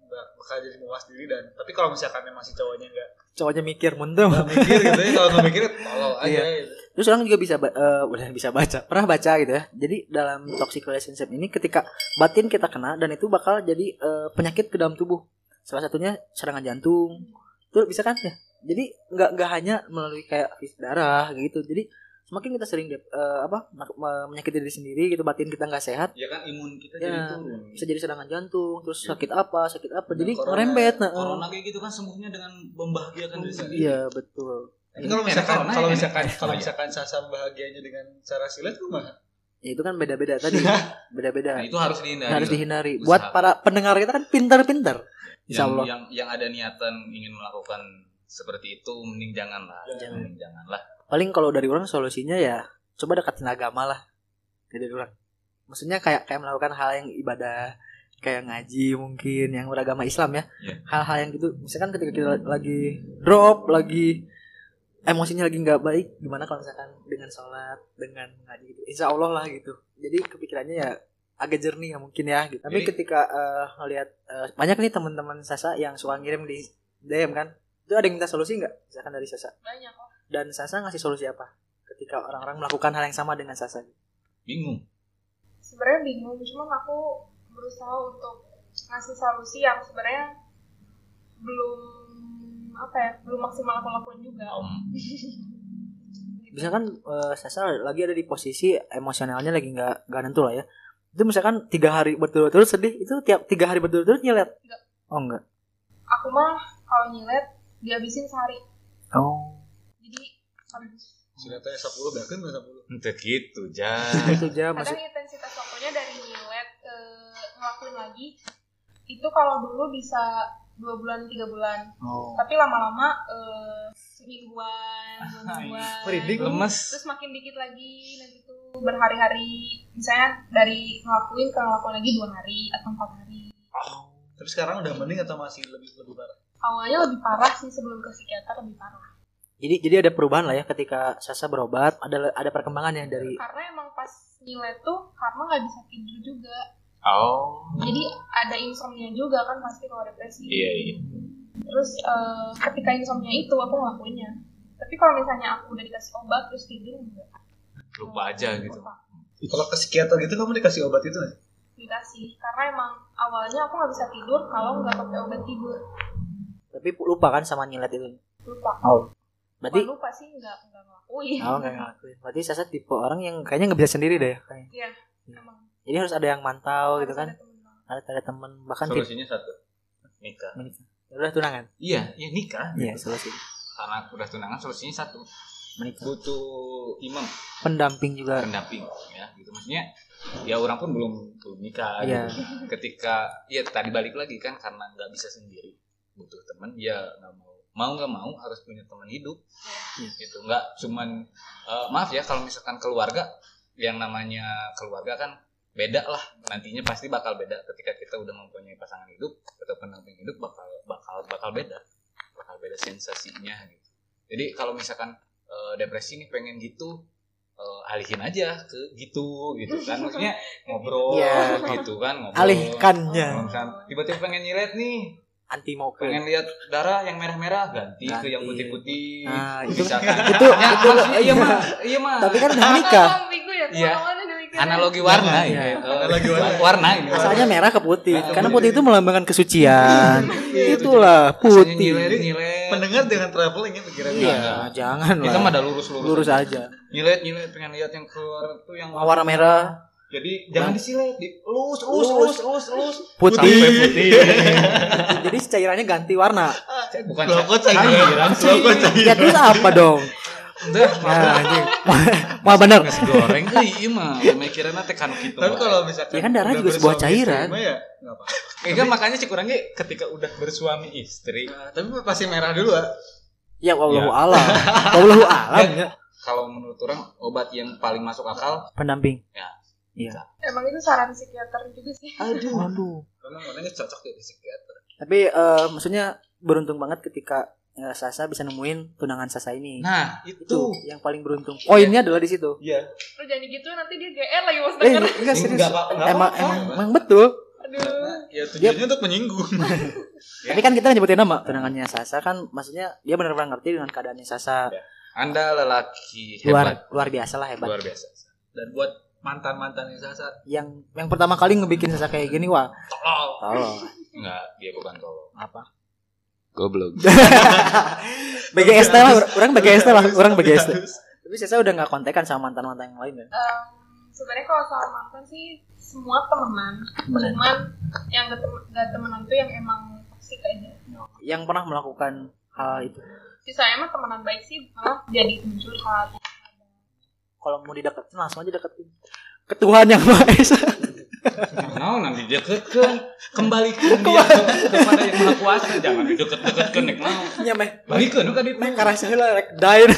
Speaker 1: bak- bakal jadi muas diri dan tapi kalau misalkan emang si cowoknya nggak
Speaker 2: Cowoknya mikir mendem.
Speaker 1: nggak mikir gitu ya kalau nggak mikir tolol aja
Speaker 2: Iya.
Speaker 1: gitu.
Speaker 2: Terus orang juga bisa ba- eh, bukan bisa baca, pernah baca gitu ya. Jadi dalam toxic relationship ini ketika batin kita kena dan itu bakal jadi eh, penyakit ke dalam tubuh. Salah satunya serangan jantung. Itu bisa kan ya. Jadi nggak nggak hanya melalui kayak pis darah gitu. Jadi semakin kita sering dep- eh, apa mak- me- menyakiti diri sendiri gitu batin kita nggak sehat
Speaker 3: ya kan imun kita
Speaker 2: Ya.
Speaker 3: jadi turun
Speaker 2: bisa jadi serangan jantung terus
Speaker 3: Iya.
Speaker 2: sakit apa sakit apa jadi
Speaker 1: corona- kan
Speaker 2: merembet nah,
Speaker 3: corona kayak gitu kan sembuhnya dengan membahagiakan diri
Speaker 2: eh.
Speaker 3: sendiri
Speaker 2: iya betul
Speaker 1: Tapi kalau
Speaker 3: Enak,
Speaker 1: misalkan
Speaker 3: Eh, enak,
Speaker 1: kalau
Speaker 3: enak.
Speaker 1: misalkan kalau
Speaker 3: Iya.
Speaker 1: misalkan sasa bahagianya dengan cara silat tuh mah
Speaker 2: ya, itu kan beda-beda tadi
Speaker 3: nah
Speaker 2: beda-beda
Speaker 3: itu harus dihindari
Speaker 2: harus
Speaker 3: lah.
Speaker 2: dihindari
Speaker 3: Usaha.
Speaker 2: buat para pendengar kita kan pintar-pintar
Speaker 3: yang,
Speaker 2: Insyaallah
Speaker 3: yang yang ada niatan ingin melakukan seperti itu mending janganlah
Speaker 1: Jangan.
Speaker 3: mending janganlah
Speaker 2: paling kalau dari orang solusinya ya coba deketin agama lah dari orang maksudnya kayak kayak melakukan hal yang ibadah kayak ngaji mungkin yang beragama Islam ya
Speaker 3: Iya.
Speaker 2: hal-hal yang gitu misalkan ketika kita lagi drop lagi emosinya lagi nggak baik gimana kalau misalkan dengan sholat dengan ngaji gitu Insya Allah lah gitu jadi kepikirannya ya agak jernih ya mungkin ya gitu. tapi
Speaker 3: Jadi-
Speaker 2: ketika eh, ngelihat eh, banyak nih teman-teman Sasa yang suka ngirim di DM kan itu ada yang minta solusi nggak misalkan dari Sasa
Speaker 4: banyak Oh, kok
Speaker 2: dan Sasa ngasih solusi apa ketika orang-orang melakukan hal yang sama dengan Sasa?
Speaker 3: bingung
Speaker 4: sebenarnya bingung cuma aku berusaha untuk ngasih solusi yang sebenarnya belum apa ya belum maksimal aku lakuin juga Gitu.
Speaker 3: om
Speaker 2: Misalkan eh, Sasa lagi ada di posisi emosionalnya lagi nggak nggak nentu lah ya. Itu misalkan tiga hari berturut-turut sedih, itu tiap tiga hari berturut-turut nyelet?
Speaker 4: Nggak.
Speaker 2: Oh enggak.
Speaker 4: aku mah kalau nyilet dihabisin sehari
Speaker 2: Oh.
Speaker 4: jadi habis
Speaker 1: silatnya sepuluh bahkan nggak sepuluh
Speaker 3: untuk gitu ja
Speaker 2: Itu aja masih
Speaker 4: kadang intensitas waktunya dari nyilet ke ngelakuin lagi itu kalau dulu bisa dua bulan tiga bulan
Speaker 2: oh.
Speaker 4: tapi lama-lama eh, semingguan dua mingguan
Speaker 1: Merinding.
Speaker 3: lemes
Speaker 4: terus makin dikit lagi nanti tuh berhari-hari misalnya dari ngelakuin ke ngelakuin lagi dua hari atau empat hari
Speaker 1: tapi sekarang udah mending atau masih lebih lebih parah
Speaker 4: awalnya lebih parah sih sebelum ke psikiater lebih parah
Speaker 2: Jadi jadi ada perubahan lah ya ketika Sasa berobat, ada ada perkembangan ya dari
Speaker 4: karena emang pas nyilet tuh karena nggak bisa tidur juga
Speaker 3: oh
Speaker 4: jadi ada insomnia juga kan pasti kalau depresi
Speaker 3: iya iya
Speaker 4: terus eh, ketika insomnia itu aku ngelakuinnya tapi kalau misalnya aku udah dikasih obat terus tidur enggak
Speaker 3: lupa aja gitu
Speaker 4: Lupa.
Speaker 1: kalau ke psikiater gitu kamu dikasih obat itu nggak?
Speaker 4: dikasih karena emang awalnya aku nggak bisa tidur kalau nggak pakai obat tidur
Speaker 2: tapi lupa kan sama nyelet itu.
Speaker 4: lupa
Speaker 2: Berarti
Speaker 4: Bukan lupa sih nggak nggak ngelakuin
Speaker 2: oh enggak ngelakuin. Berarti Sasa tipe orang yang kayaknya nggak bisa sendiri deh kayaknya.
Speaker 4: Iya, emang
Speaker 2: Jadi harus ada yang mantau gitu
Speaker 4: harus
Speaker 2: kan.
Speaker 4: ada temen banget.
Speaker 2: Harus ada teman bahkan tipe
Speaker 3: solusinya satu nikah
Speaker 2: menikah. Udah tunangan.
Speaker 3: iya iya nikah
Speaker 2: Iya, solusi
Speaker 3: karena udah tunangan solusinya satu
Speaker 2: menikah.
Speaker 3: butuh imam
Speaker 2: Pendamping juga.
Speaker 3: pendamping ya gitu maksudnya ya orang pun belum belum nikah
Speaker 2: Iya.
Speaker 3: gitu. ketika ya tadi balik lagi kan karena nggak bisa sendiri butuh teman ya nggak mau mau nggak mau harus punya teman hidup gitu nggak cuman eh, maaf ya kalau misalkan keluarga yang namanya keluarga kan beda lah nantinya pasti bakal beda ketika kita udah mempunyai pasangan hidup atau pendamping hidup bakal bakal bakal beda bakal beda sensasinya gitu jadi kalau misalkan eh, depresi nih pengen gitu eh, alihin aja ke gitu gitu kan maksudnya ngobrol
Speaker 2: Iya.
Speaker 3: gitu kan ngobrol
Speaker 2: Alihkannya.
Speaker 3: Ngobrol kan. tiba-tiba pengen nyilet nih
Speaker 2: Anti mau ke.
Speaker 3: pengen lihat darah yang merah-merah ganti ke yang
Speaker 2: Ganti.
Speaker 3: putih-putih
Speaker 2: Nah, itu-
Speaker 3: misalkan
Speaker 2: itu-
Speaker 3: Ya,
Speaker 2: itu-
Speaker 3: maksudnya, iya mah iya mah
Speaker 2: Tapi kan udah nikah.
Speaker 4: Atau ambigu
Speaker 3: Iya.
Speaker 4: ya, teman-teman ada mikirnya.
Speaker 3: analogi warna ya
Speaker 2: Iya.
Speaker 3: Eh,
Speaker 1: Analogi warna.
Speaker 3: warna ini
Speaker 2: Asalnya merah ke putih.
Speaker 3: Nah,
Speaker 2: Karena
Speaker 1: iya.
Speaker 2: putih itu melambangkan kesucian.
Speaker 1: Iya,
Speaker 2: Itulah
Speaker 3: Asalnya
Speaker 2: putih.
Speaker 3: nyilet nyilet
Speaker 1: Pendengar dengan traveling ya pikirannya.
Speaker 2: Iya, jangan
Speaker 3: kita
Speaker 2: lah.
Speaker 3: mah ada lurus lurus
Speaker 2: Lurus aja.
Speaker 3: nyilet nyilet pengen lihat yang keluar tuh yang
Speaker 2: Warna merah,
Speaker 3: jadi jangan disilet di lurus lurus
Speaker 2: Lurus.
Speaker 3: lurus lurus lurus
Speaker 2: putih.
Speaker 3: sampai putih
Speaker 2: Jadi cairannya ganti warna.
Speaker 3: Cek, bukan Iya,
Speaker 1: Loh,
Speaker 3: cek.
Speaker 1: kok cairan?
Speaker 3: Cairan sih.
Speaker 1: Loh, kok cairan?
Speaker 2: Ya terus apa dong?
Speaker 3: Udah,
Speaker 2: Nah, anjing. Wah, bener.
Speaker 3: Nasi goreng Iya, euy ieu mah. Mikirna teh kanu kitu.
Speaker 1: Tapi
Speaker 3: wae.
Speaker 1: kalau misalkan
Speaker 3: Iya
Speaker 2: Ya kan darah
Speaker 1: udah
Speaker 2: juga sebuah
Speaker 1: bersuami
Speaker 2: cairan.
Speaker 1: istri mah ya, nggak apa-apa.
Speaker 3: Eh, kan makanya cik urang ge ketika udah bersuami istri,
Speaker 1: Nah, tapi pasti merah dulu ah.
Speaker 2: Ya wallahu alam. Wallahu alam. ya.
Speaker 3: kalau menurut orang obat yang paling masuk akal
Speaker 2: Pendamping.
Speaker 4: Emang itu saran psikiater juga sih.
Speaker 2: Waduh.
Speaker 1: Karena makanya cocok jadi psikiater.
Speaker 2: Tapi eh, maksudnya beruntung banget ketika eh, Sasa bisa nemuin tunangan Sasa ini.
Speaker 3: nah itu,
Speaker 2: itu yang paling beruntung. Poinnya adalah di situ.
Speaker 1: Iya.
Speaker 4: Lu jangan gitu nanti dia GR lagi pas
Speaker 2: Eh,
Speaker 4: denger.
Speaker 2: enggak serius.
Speaker 3: Enggak, Pak. Enggak
Speaker 2: emang,
Speaker 3: apa-apa.
Speaker 2: emang, emang betul.
Speaker 4: Aduh.
Speaker 1: Ya tujuannya untuk menyinggung.
Speaker 2: Tapi kan kita nyebutin nama tunangannya Sasa kan maksudnya dia benar-benar ngerti dengan keadaannya Sasa.
Speaker 3: Anda lelaki hebat,
Speaker 2: Luar luar biasa lah hebat.
Speaker 3: luar biasa.
Speaker 1: Dan buat mantan-mantan yang sasa,
Speaker 2: Yang yang pertama kali ngebikin Sasa kayak gini wah.
Speaker 1: tolol.
Speaker 3: Oh.
Speaker 2: Tolong.
Speaker 3: Enggak, dia bukan tolong.
Speaker 2: Apa?
Speaker 3: Goblok.
Speaker 2: BGST lah, orang BGST lah,
Speaker 1: Harus,
Speaker 2: orang
Speaker 1: tapi
Speaker 2: BGST.
Speaker 1: harus.
Speaker 2: Tapi Sasa udah nggak kontekan sama mantan-mantan yang lain ya.
Speaker 4: Em, sebenarnya kalau soal mantan sih semua temenan. Cuman yang gak, temen, gak temenan tuh yang emang toksik aja.
Speaker 2: Yang pernah melakukan hal itu.
Speaker 4: Sisanya mah temenan baik sih malah jadi temen curhat.
Speaker 2: Kalau mau dideketin langsung aja deketin. Ketuhan yang Maha Esa.
Speaker 3: Nah, nanti dideketkeun, kembalikan dia kepada yang maha kuasa, jangan dideket-deketkeun nek mau.
Speaker 2: Nya Iya, meh.
Speaker 3: Balikeun nu ka ditu.
Speaker 2: Meh karasa heula rek dain.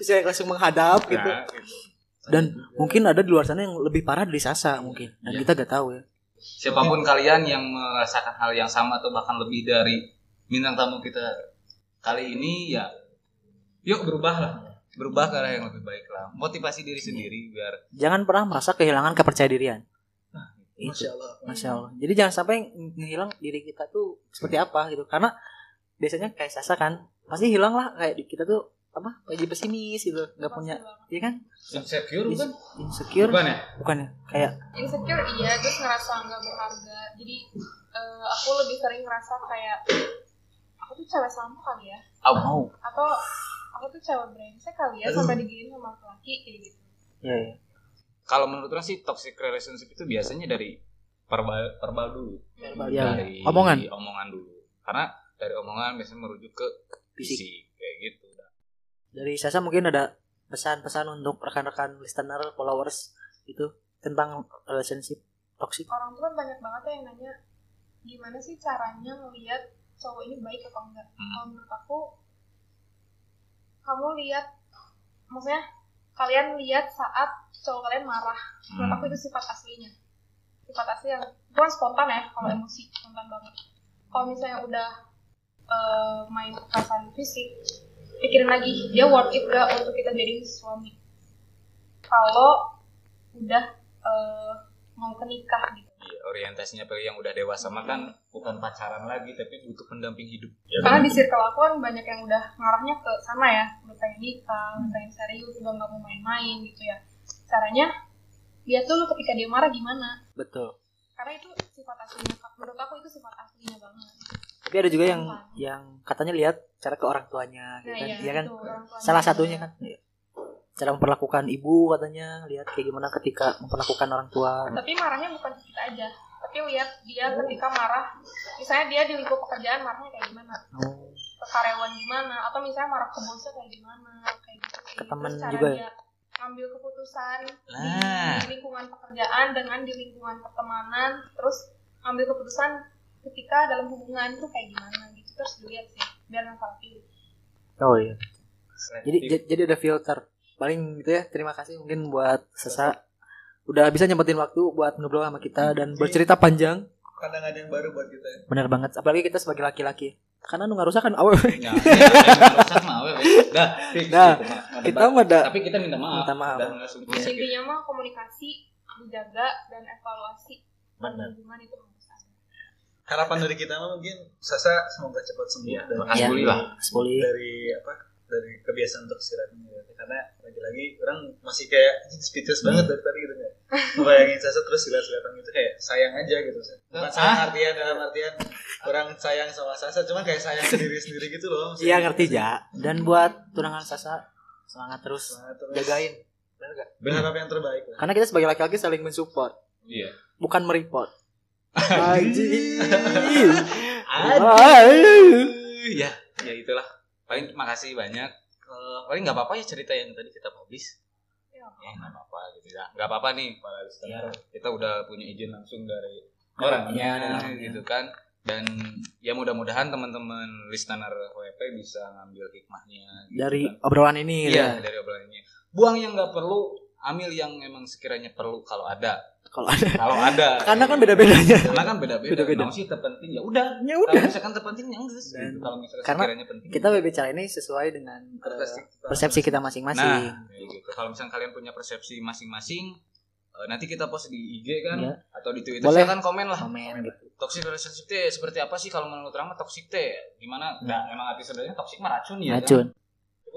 Speaker 2: Bisa langsung menghadap gitu.
Speaker 3: Nah, gitu.
Speaker 2: Dan mungkin ada di luar sana yang lebih parah dari Sasa mungkin. Dan
Speaker 3: Iya.
Speaker 2: kita gak tahu ya.
Speaker 3: Siapapun kalian yang merasakan hal yang sama atau bahkan lebih dari bintang tamu kita kali ini ya yuk berubahlah. Berubah ke arah yang lebih baik lah. Motivasi
Speaker 2: Iya.
Speaker 3: diri sendiri biar
Speaker 2: Jangan pernah merasa kehilangan kepercaya dirian.
Speaker 3: Nah,
Speaker 2: Itu.
Speaker 1: Masya Allah.
Speaker 2: Masya Allah. Jadi jangan sampai ng- ngilang diri kita tuh seperti apa gitu. Karena biasanya kayak Sasa kan pasti hilang lah kayak di- kita tuh apa jadi pesimis gitu nggak punya iya kan
Speaker 3: insecure
Speaker 2: bukan? insecure
Speaker 3: kan? Bukan ya?
Speaker 2: bukan ya kayak
Speaker 4: Insecure iya, terus ngerasa nggak berharga. Jadi eh, aku lebih sering ngerasa kayak aku tuh cewek sampah kali ya.
Speaker 2: mau
Speaker 4: Atau aku tuh cewek brengsek kali ya sampai diginiin sama laki kayak gitu.
Speaker 3: Iya,
Speaker 2: ya, ya.
Speaker 3: Kalau menurut orang sih toxic relationship itu biasanya dari verbal verbal dulu.
Speaker 2: Ya,
Speaker 3: dari
Speaker 2: omongan.
Speaker 3: omongan dulu. Karena dari omongan biasanya merujuk ke
Speaker 2: Fisik.
Speaker 3: fisik kayak gitu.
Speaker 2: dari Sasa mungkin ada pesan-pesan untuk rekan-rekan listener, followers itu tentang relationship toxic.
Speaker 4: orang tuh kan banyak banget ya yang nanya gimana sih caranya ngelihat cowok ini baik apa enggak
Speaker 3: Hmm.
Speaker 4: kalau menurut aku kamu lihat maksudnya kalian lihat saat cowok kalian marah menurut aku itu sifat aslinya sifat asli yang itu kan spontan ya kalau emosi spontan banget kalau misalnya udah eh, main perasaan fisik pikirin lagi dia worth it gak untuk kita jadi suami kalau udah eh, mau ke nikah gitu
Speaker 3: Iya, orientasinya bagi yang udah dewasa mah kan bukan pacaran lagi tapi butuh pendamping hidup.
Speaker 2: Iya, Gitu.
Speaker 4: karena di circle aku kan banyak yang udah ngarahnya ke sana ya udah pengen nikah udah pengen serius udah nggak mau main-main gitu ya caranya lihat dulu ketika dia marah gimana
Speaker 2: Betul.
Speaker 4: karena itu sifat aslinya menurut aku itu sifat aslinya banget
Speaker 2: Tapi ada juga yang yang katanya lihat cara ke orang tuanya, gitu kan?
Speaker 4: iya,
Speaker 2: Iya kan?
Speaker 4: itu, orang tuanya.
Speaker 2: Salah satunya kan Iya. cara memperlakukan ibu katanya lihat kayak gimana ketika memperlakukan orang tua.
Speaker 4: tapi marahnya bukan ke kita aja tapi lihat dia ketika marah misalnya dia di lingkup pekerjaan marahnya kayak gimana
Speaker 2: Oh,
Speaker 4: ke karyawan gimana atau misalnya marah ke bosnya kayak gimana kayak gitu sih
Speaker 2: Ke temen
Speaker 4: Terus cara
Speaker 2: juga ya?
Speaker 4: dia ngambil keputusan
Speaker 3: Nah.
Speaker 4: di lingkungan pekerjaan dengan di lingkungan pertemanan terus ngambil keputusan ketika dalam hubungan tuh kayak gimana gitu terus dilihat sih biar nggak salah pilih
Speaker 2: oh iya. Jadi j- jadi ada filter. Paling gitu ya. Terima kasih mungkin buat Sasa udah bisa nyempetin waktu buat ngobrol sama kita dan bercerita panjang.
Speaker 1: Kadang ada yang baru buat kita. ya.
Speaker 2: Bener banget. Apalagi kita sebagai laki-laki. Karena nu ngarusak kan awal.
Speaker 3: Ya, yang rusak mah awewe. Dah, fix,
Speaker 2: Dah, Nah,
Speaker 3: gitu mah. Ada
Speaker 2: kita
Speaker 3: ba-
Speaker 2: mah da-
Speaker 3: tapi kita minta maaf.
Speaker 2: Minta maaf.
Speaker 3: Dah, nggak sungguh sakit.
Speaker 4: intinya mah komunikasi dijaga dan evaluasi
Speaker 1: Benar.
Speaker 4: hubungan itu harus ada
Speaker 1: Harapan dari kita mah mungkin Sasa semoga cepat sembuh
Speaker 3: Iya,
Speaker 1: dari,
Speaker 3: alhamdulillah.
Speaker 2: Sepuluh.
Speaker 1: dari apa dari kebiasaan untuk istirahat ini ya. karena lagi-lagi orang masih kayak "Anjing, speechless
Speaker 2: Hmm.
Speaker 1: banget dari tadi gitu kan bayangin Sasa terus silat-silatan gitu kayak sayang aja gitu bukan sayang
Speaker 3: Ah.
Speaker 1: artian dalam artian orang sayang sama Sasa cuma kayak sayang sendiri-sendiri gitu loh
Speaker 2: Iya ngerti ja. Dan buat tunangan Sasa semangat terus
Speaker 1: Nah, terus
Speaker 2: jagain.
Speaker 1: berharap yang terbaik lah
Speaker 2: Karena kita sebagai laki-laki saling mensupport,
Speaker 3: Iya.
Speaker 2: bukan mereport. Anjing. Anjing.
Speaker 3: Ya, ya itulah. paling makasih banyak Eh, paling nggak apa-apa ya cerita yang tadi kita publish
Speaker 4: Ya.
Speaker 3: ya nggak apa-apa gitu ya nggak apa-apa nih para listener kita udah punya izin langsung Iya. dari
Speaker 2: Orangnya.
Speaker 3: orangnya gitu kan dan ya mudah-mudahan teman-teman listener WP bisa ngambil hikmahnya gitu
Speaker 2: dari
Speaker 3: kan.
Speaker 2: obrolan ini gitu
Speaker 3: iya
Speaker 2: ya.
Speaker 3: dari obrolannya buang yang nggak perlu ambil yang emang sekiranya perlu kalau ada
Speaker 2: Kalau ada
Speaker 3: kalau ada
Speaker 2: karena kan beda-bedanya.
Speaker 3: karena kan beda-beda
Speaker 2: Beda-beda.
Speaker 3: Nah, sih terpenting ya udah
Speaker 2: Ya
Speaker 3: kalau
Speaker 2: udah.
Speaker 3: misalkan terpentingnya enggak sih.
Speaker 2: Dan-
Speaker 3: kalau misalkan
Speaker 2: karena
Speaker 3: sekiranya penting
Speaker 2: Kita berbicara ini sesuai dengan eh, persepsi kita masing-masing.
Speaker 3: Nah, kayak gitu. Kalau misalkan kalian punya persepsi masing-masing, eh, nanti kita post di IG kan
Speaker 2: Iya.
Speaker 3: atau di Twitter
Speaker 2: Boleh.
Speaker 3: silakan komen lah.
Speaker 2: Komen gitu.
Speaker 3: Toxic relationship teh seperti apa sih kalau menurut Rama toxic teh? Gimana? Nah, emang episodenya toxic mah racun ya.
Speaker 2: Hmm. Racun.
Speaker 3: kan?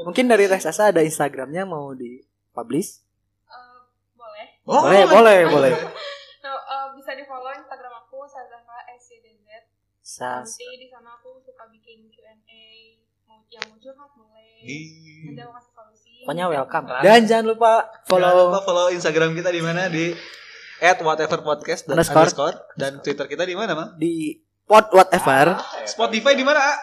Speaker 2: Mungkin dari Tes Asa ada Instagramnya mau di publish?
Speaker 4: Eh,
Speaker 2: Boleh,
Speaker 4: boleh.
Speaker 2: Oh, boleh, boleh.
Speaker 4: Nah, eh, bisa di follow Instagram aku Sazara SCDZ.
Speaker 2: Sas.
Speaker 4: Nanti Iya, di sana aku suka bikin Q&A, mau yang mau curhat boleh.
Speaker 3: Di
Speaker 1: Iya.
Speaker 4: Nanti aku kasih solusi.
Speaker 2: Pokoknya welcome.
Speaker 3: Nah.
Speaker 2: Dan jangan lupa
Speaker 1: Follow
Speaker 2: follow
Speaker 1: follow Instagram kita di mana di at whatever podcast dan
Speaker 2: Underscore.
Speaker 1: underscore, dan Twitter kita di mana, Mang?
Speaker 2: di Pod Whatever,
Speaker 1: Spotify di mana, A?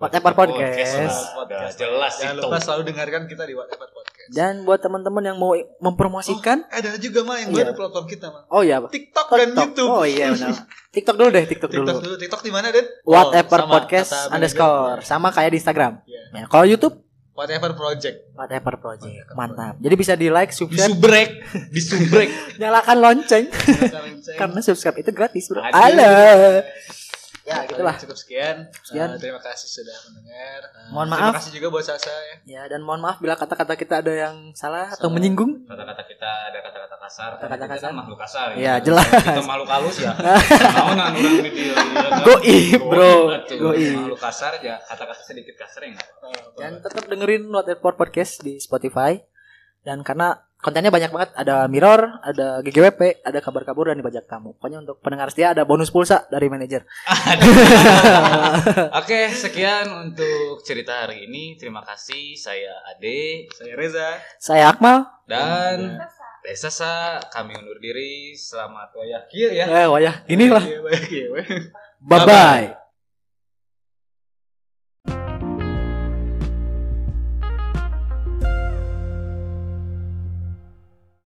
Speaker 2: Whatever
Speaker 3: Podcast.
Speaker 2: Podcast.
Speaker 3: Udah jelas
Speaker 1: Jangan
Speaker 3: itu.
Speaker 1: lupa selalu dengarkan kita di whatever podcast.
Speaker 2: Dan buat teman-teman yang mau mempromosikan,
Speaker 1: Ada juga, Mang, yang baru di platform kita, Mang.
Speaker 2: oh iya, Pak.
Speaker 1: TikTok, dan
Speaker 2: TikTok.
Speaker 1: YouTube.
Speaker 2: Oh iya benar. TikTok dulu deh, TikTok
Speaker 1: TikTok
Speaker 2: dulu.
Speaker 1: dulu. TikTok di mana, Den?
Speaker 2: Oh, Whatever
Speaker 1: sama,
Speaker 2: Podcast
Speaker 1: kata manajer.
Speaker 2: underscore sama kayak di Instagram.
Speaker 1: Iya.
Speaker 2: Nah, kalau YouTube
Speaker 1: Whatever project.
Speaker 2: Whatever Project. Mantap. Jadi bisa di like,
Speaker 1: Di
Speaker 2: subscribe,
Speaker 1: subrek, di subrek.
Speaker 2: nyalakan lonceng
Speaker 1: Karena
Speaker 2: karena subscribe itu gratis, Bro.
Speaker 3: Aduh.
Speaker 2: Halo.
Speaker 1: ya,
Speaker 2: gitulah.
Speaker 1: Cukup sekian.
Speaker 2: Sekian.
Speaker 1: Eh, terima kasih sudah mendengar. Eh,
Speaker 2: Mohon maaf.
Speaker 1: Terima kasih juga buat Sasa ya.
Speaker 2: Ya, dan mohon maaf bila kata-kata kita ada yang salah atau
Speaker 1: Salah.
Speaker 2: menyinggung.
Speaker 3: Kata-kata kita ada kata-kata kasar.
Speaker 2: Kata-kata
Speaker 3: Kita kan
Speaker 2: kasar.
Speaker 3: makhluk kasar.
Speaker 2: Iya, jelas.
Speaker 3: Kita makhluk halus ya. Mau nang urang di dia.
Speaker 2: Goib, bro. Goib.
Speaker 3: kan? Makhluk kasar ya, kata-kata sedikit kasar ya nggak apa-apa.
Speaker 2: Dan tetap dengerin Whatever Podcast di Spotify. Dan karena kontennya banyak banget, ada mirror, ada GGWP, ada kabar kabur dan dibajak tamu. Pokoknya untuk pendengar setia ada bonus pulsa dari manajer.
Speaker 3: Oke, sekian untuk cerita hari ini. Terima kasih. Saya Ade
Speaker 1: Saya Reza.
Speaker 2: Saya Akmal.
Speaker 3: dan
Speaker 4: Sasa.
Speaker 2: Iya.
Speaker 3: Desasa. Kami undur diri. Selamat wayah kir ya.
Speaker 2: Eh, wayah, gini lah.
Speaker 1: Iya, baik, iya, baik.
Speaker 2: Bye bye.